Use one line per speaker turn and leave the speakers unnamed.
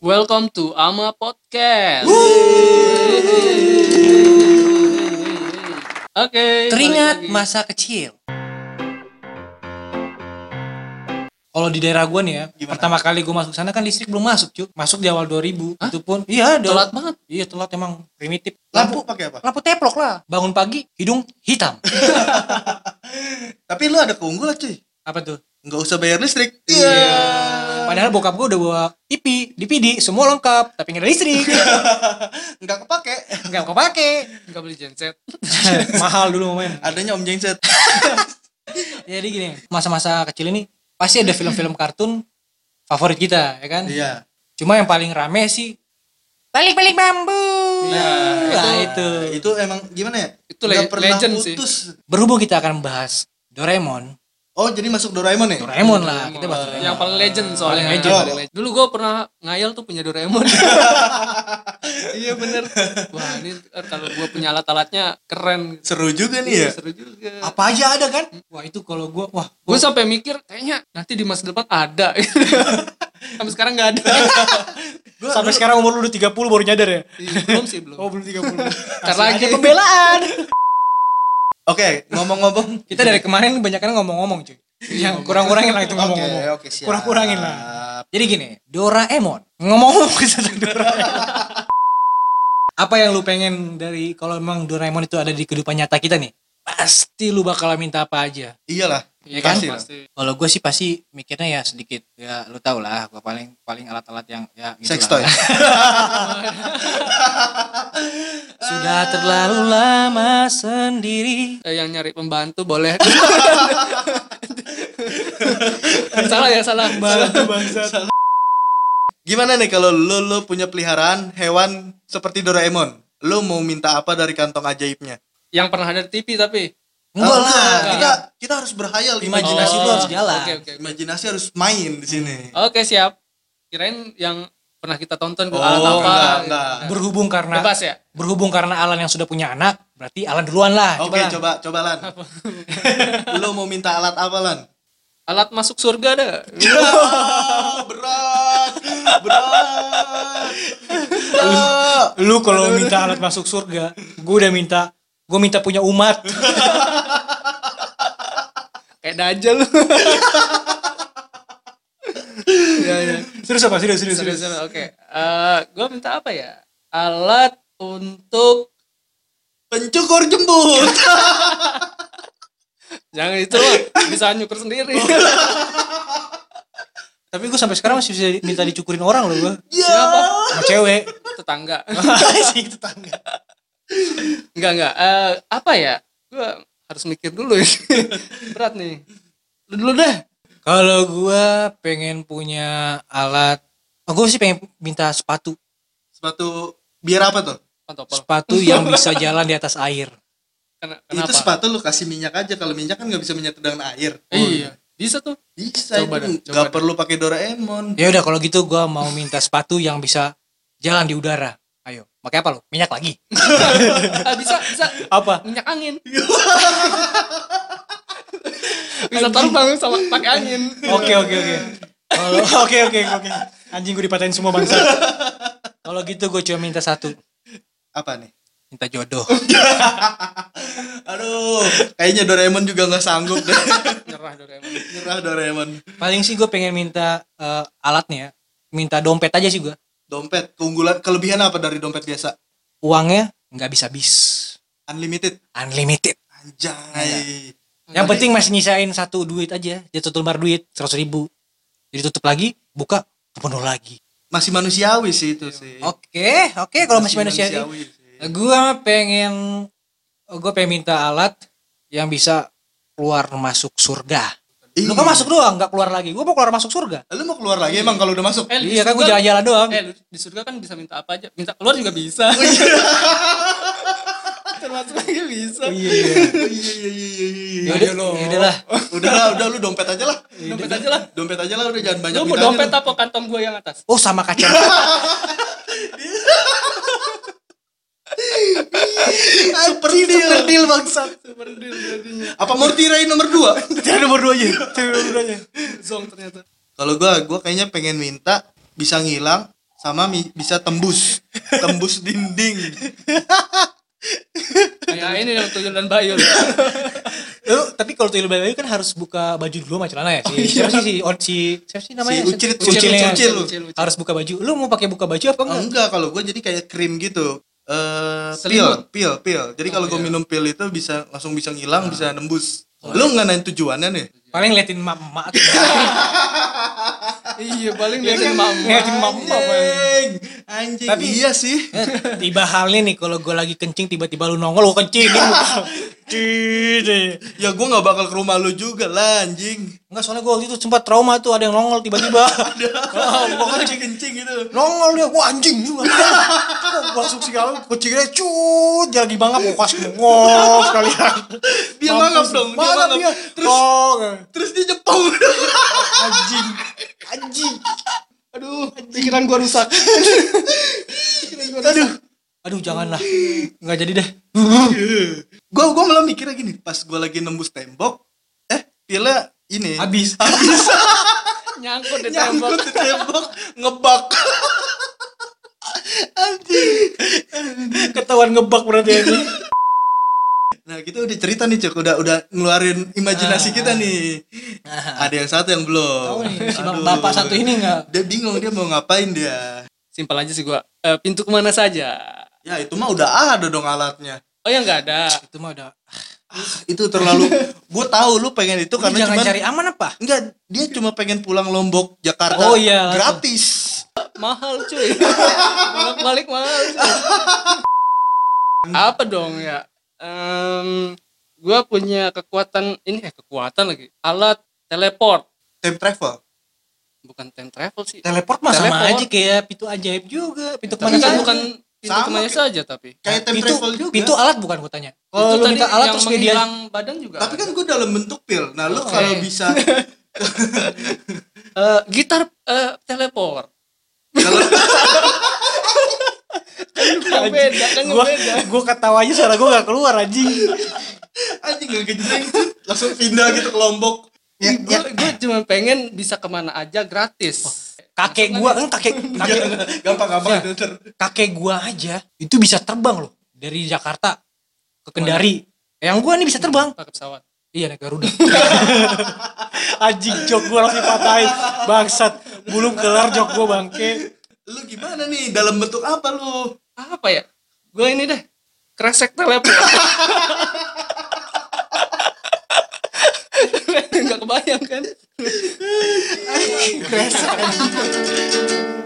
Welcome to Ama Podcast. Oke. balik
Teringat
lagi.
masa kecil. Kalau di daerah gua nih ya, pertama kali gua masuk sana kan listrik belum masuk, Cuk. Masuk di awal 2000. Itu pun iya,
telat
ada-
banget.
Iya, telat emang primitif.
Lampu pakai apa?
Lampu teplok lah. Bangun pagi, hidung hitam.
Tapi lu ada keunggulan cuy.
Apa tuh?
Nggak usah bayar listrik. Iya.
Padahal bokap gua udah bawa TV, DVD, semua lengkap, tapi nggak ada listrik.
Nggak kepake.
Nggak kepake.
Enggak beli genset.
Mahal dulu momen.
Adanya Om Jengset.
Jadi gini, masa-masa kecil ini pasti ada film-film kartun favorit kita, ya kan?
Iya.
Cuma yang paling rame sih balik-balik bambu.
Iya,
Nah,
itu-
itu.
Itu emang gimana ya?
Itu le-
Nggak pernah
legend sih.
putus.
Berhubung kita akan membahas Doraemon.
Oh jadi masuk Doraemon ya?
Doraemon lah, Ah, kita bahas Doraemon.
Hmm, Yang paling legend soalnya.
Paling
legend.
Paling legend. Dulu gue pernah ngayal tuh punya Doraemon. iya bener. Wah ini ntar kalau gue punya alat-alatnya keren. Iya,
Seru juga
Iya,
nih ya.
Seru juga.
Apa aja ada kan? Wah, itu kalau gua wah,
Gue sampai mikir kayaknya nanti di masa depan ada. sampai sekarang nggak ada.
Gua
sampai sekarang umur lu udah 30 baru nyadar ya?
belum sih belum.
belum
Ntar
30. Ntar
lagi.
lagi pembelaan.
Oke ngomong-ngomong.
kita dari kemarin banyak ngomong-ngomong, cuy. Yang kurang-kurangin lah itu
Oke
ngomong-ngomong.
oke siap.
Kurang-kurangin lah. Jadi gini, Doraemon. Ngomong-ngomong tentang Doraemon. Apa yang lu pengen dari kalau memang Doraemon itu ada di kehidupan nyata kita nih? Pasti lu bakal minta apa aja.
Iyalah.
Iya
kan?
Pasti.
pasti.
Kalau gue sih pasti mikirnya ya sedikit. Ya lu tau lah, gue paling paling alat-alat yang ya gitu
Sex toy.
lah. Sudah terlalu lama sendiri.
Eh, yang nyari pembantu boleh. salah ya salah.
Gimana nih kalau lu, lu punya peliharaan hewan seperti Doraemon? Lu mau minta apa dari kantong ajaibnya?
Yang pernah ada di TV tapi.
Enggak
Ah,
lah.
Kita kita harus berhayal.
Imajinasi
Imajinasi
lu
lu
harus jalan.
Oh, Oke oke. oke.
Imajinasi harus main di sini.
Oke siap. Kirain yang pernah kita tonton gue
Oh,
alat apa?
enggak,
gitu.
enggak.
Berhubung karena
Bebas ya.
berhubung karena Alan yang sudah punya anak, berarti Alan duluan lah.
Oke,
Cobalah.
coba coba Lan. lu mau minta alat apa Lan?
Alat masuk surga dah.
Ah, berat. Berat. Ah.
lu kalau minta alat masuk surga gue udah minta gue minta punya umat
Kayak dajal lu. ya ya.
serius apa serius serius,
Serius, serius. Oke. Eh, gue minta apa ya? Alat untuk
Pencukur jembut.
jangan itu lah. bisa nyukur sendiri.
tapi gue sampai sekarang masih bisa minta dicukurin orang loh gue
Siapa?
sama cewek
Tetangga.
si tetangga
Enggak, enggak. Eh, apa ya? Gue harus mikir dulu ya. Berat nih. Lu dulu deh.
kalau gue pengen punya alat oh, gue sih pengen minta sepatu
Sepatu biar apa tuh?
Pantopel.
sepatu yang bisa jalan di atas air
Ken- Kenapa?
Itu sepatu lu kasih minyak aja. Kalau minyak kan nggak bisa minyak dengan air.
Iya. Bisa tuh.
Bisa
Coba dah,
itu.
coba
Nggak
dah.
perlu pakai Doraemon.
ya udah kalau gitu gue mau minta sepatu yang bisa jalan di udara ayo pakai apa lo minyak lagi
Ah, bisa, bisa.
apa
Minyak angin. bisa terbang sama pakai angin.
Oke oke oke. Kalau- Oke oke oke. Anjing gue dipatahin semua bangsa. Kalau gitu gue cuma minta satu,
Apa nih?
minta jodoh.
Aduh, kayaknya Doraemon juga nggak sanggup deh.
Nyerah Doraemon.
Nyerah Doraemon.
Paling sih gue pengen minta eh, alatnya, ya. minta dompet aja sih gue.
Dompet keunggulan kelebihan apa dari dompet biasa?
Uangnya nggak bisa bis,
Unlimited.
unlimited. Iya.
Anjay.
Yang penting masih nyisain satu duit aja, jatuh lembar duit seratus ribu. Jadi tutup lagi, buka penuh lagi.
Masih manusiawi sih itu sih.
Oke oke Oh, kalau masih manusia.
sih.
Gue pengen, gue pengen minta alat yang bisa keluar masuk surga.
Ih,
Lu kan masuk doang, nggak keluar lagi. Gue mau keluar masuk surga.
Lu mau keluar lagi emang kalau udah masuk?
Eh, di
iya kan gue
surga-
jalan-jalan doang.
Eh, lu di surga kan bisa minta apa aja. Minta keluar juga bisa. Termasuk lagi bisa.
iya iya.
Oh, iya iya iya iya,
Ya
iya.
udah ya udah lah. Ya
Udah lah, udah lu dompet aja lah.
Dompet aja lah.
Dompet aja lah udah jangan banyak
Lu mau
mintanya
dompet
lu.
apa kantong gue yang atas?
Oh sama kaca.
Ah, perdil. Perdil bangsa.
Super deal jadinya.
Apa mau tirain nomor 2?
Tidak nomor dua iya. aja. Tidak nomor dua aja.
Zong ternyata.
Kalau gua gua kayaknya pengen minta bisa ngilang sama mi- bisa tembus tembus dinding
kayak ini yang tuyul dan bayul
Lu, tapi kalau tuyul bayu kan harus buka baju dulu sama celana ya. Si, siapa sih si, or, si, siapa sih namanya?
Si Ucil,
Ucil,
Ucil,
ya.
Ucil.
Harus buka baju. Lu mau pakai buka baju apa
Oh,
enggak?
enggak kalau gue jadi kayak krim gitu eh pil
Selimut.
pil pil jadi kalau gue minum pil itu bisa langsung bisa ngilang bisa nembus lu nggak nanya tujuannya nih
Paling ngeliatin emak-emak. tuh.
iya paling dia kayak mama
Ngeliatin emak-emak. paling.
anjing anjing
Tapi-
iya sih
tiba halnya nih kalau gue lagi kencing tiba-tiba lu nongol lu kencing di muka. Gitu.
ya gue nggak bakal ke rumah lu juga lah anjing
Enggak soalnya gue waktu itu sempat trauma tuh ada yang nongol tiba-tiba. Oh,
Lu
gua
lagi kencing gitu
nongol dia gua anjing juga Gua langsung sih kalau kucingnya cut dia lagi banget mau kas ngos kalian
dia mangap dong dia
mangap dia Oh,
mangap
terus
terus terus dia jepong
anjing anjing
aduh pikiran gue rusak aduh
aduh janganlah nggak jadi deh
gue gue malah mikirnya gini pas gue lagi nembus tembok eh pilnya ini
habis
habis
nyangkut di tembok
nyangkut di tembok ngebak anjing
ketahuan ngebak berarti ya. ini
nah kita udah cerita nih cok udah udah ngeluarin imajinasi kita nih ada yang satu yang belum
Ah. si
Iya. Aduh.
bapak satu ini nggak
dia bingung dia mau ngapain dia
simpel aja sih gua Eh, pintu kemana saja
ya itu mah udah ada dong alatnya
oh ya nggak ada
itu mah udah
itu terlalu gue tahu lu pengen itu karena
jangan
cuma
cari aman apa
enggak dia cuma pengen pulang Lombok Jakarta
Oh, iya, langsung.
gratis
mahal cuy balik balik mahal cuy. apa dong ya Em, gua punya kekuatan ini ya kekuatan lagi alat teleport
time travel
bukan time travel sih
teleport mah sama
Teleport.
aja kayak pintu ajaib juga pintu
tapi kan
kemana saja
bukan pintu
Sama
kemana
kayak-
saja tapi
kayak time
pintu,
travel juga
pintu alat bukan gue tanya
itu
kalau lu
tadi
minta alat
Oh, yang
terus kayak dia
menghilang badan juga
tapi
ada.
kan gue dalam bentuk pil nah lu
Oh,
kalau
iya.
bisa
Eh, gitar eh, teleport Kan beda kan
gua
beda
gua ketawanya suara gua gak keluar anjing
anjing gak kejeng langsung pindah gitu ke Lombok ya,
gue cuma pengen bisa kemana aja gratis
kakek gua kan kakek kakek
Iya. gampang gampang itu ntar.
kakek gua aja itu bisa terbang loh dari Jakarta ke Kendari yang gua nih bisa terbang
pakai pesawat
iya naik Garuda anjing jok gua langsung dipatahin bangsat belum kelar jok gua bangke
lu gimana nih dalam bentuk apa lu
apa ya gue ini deh kresek teleport nggak kebayang kan
kresek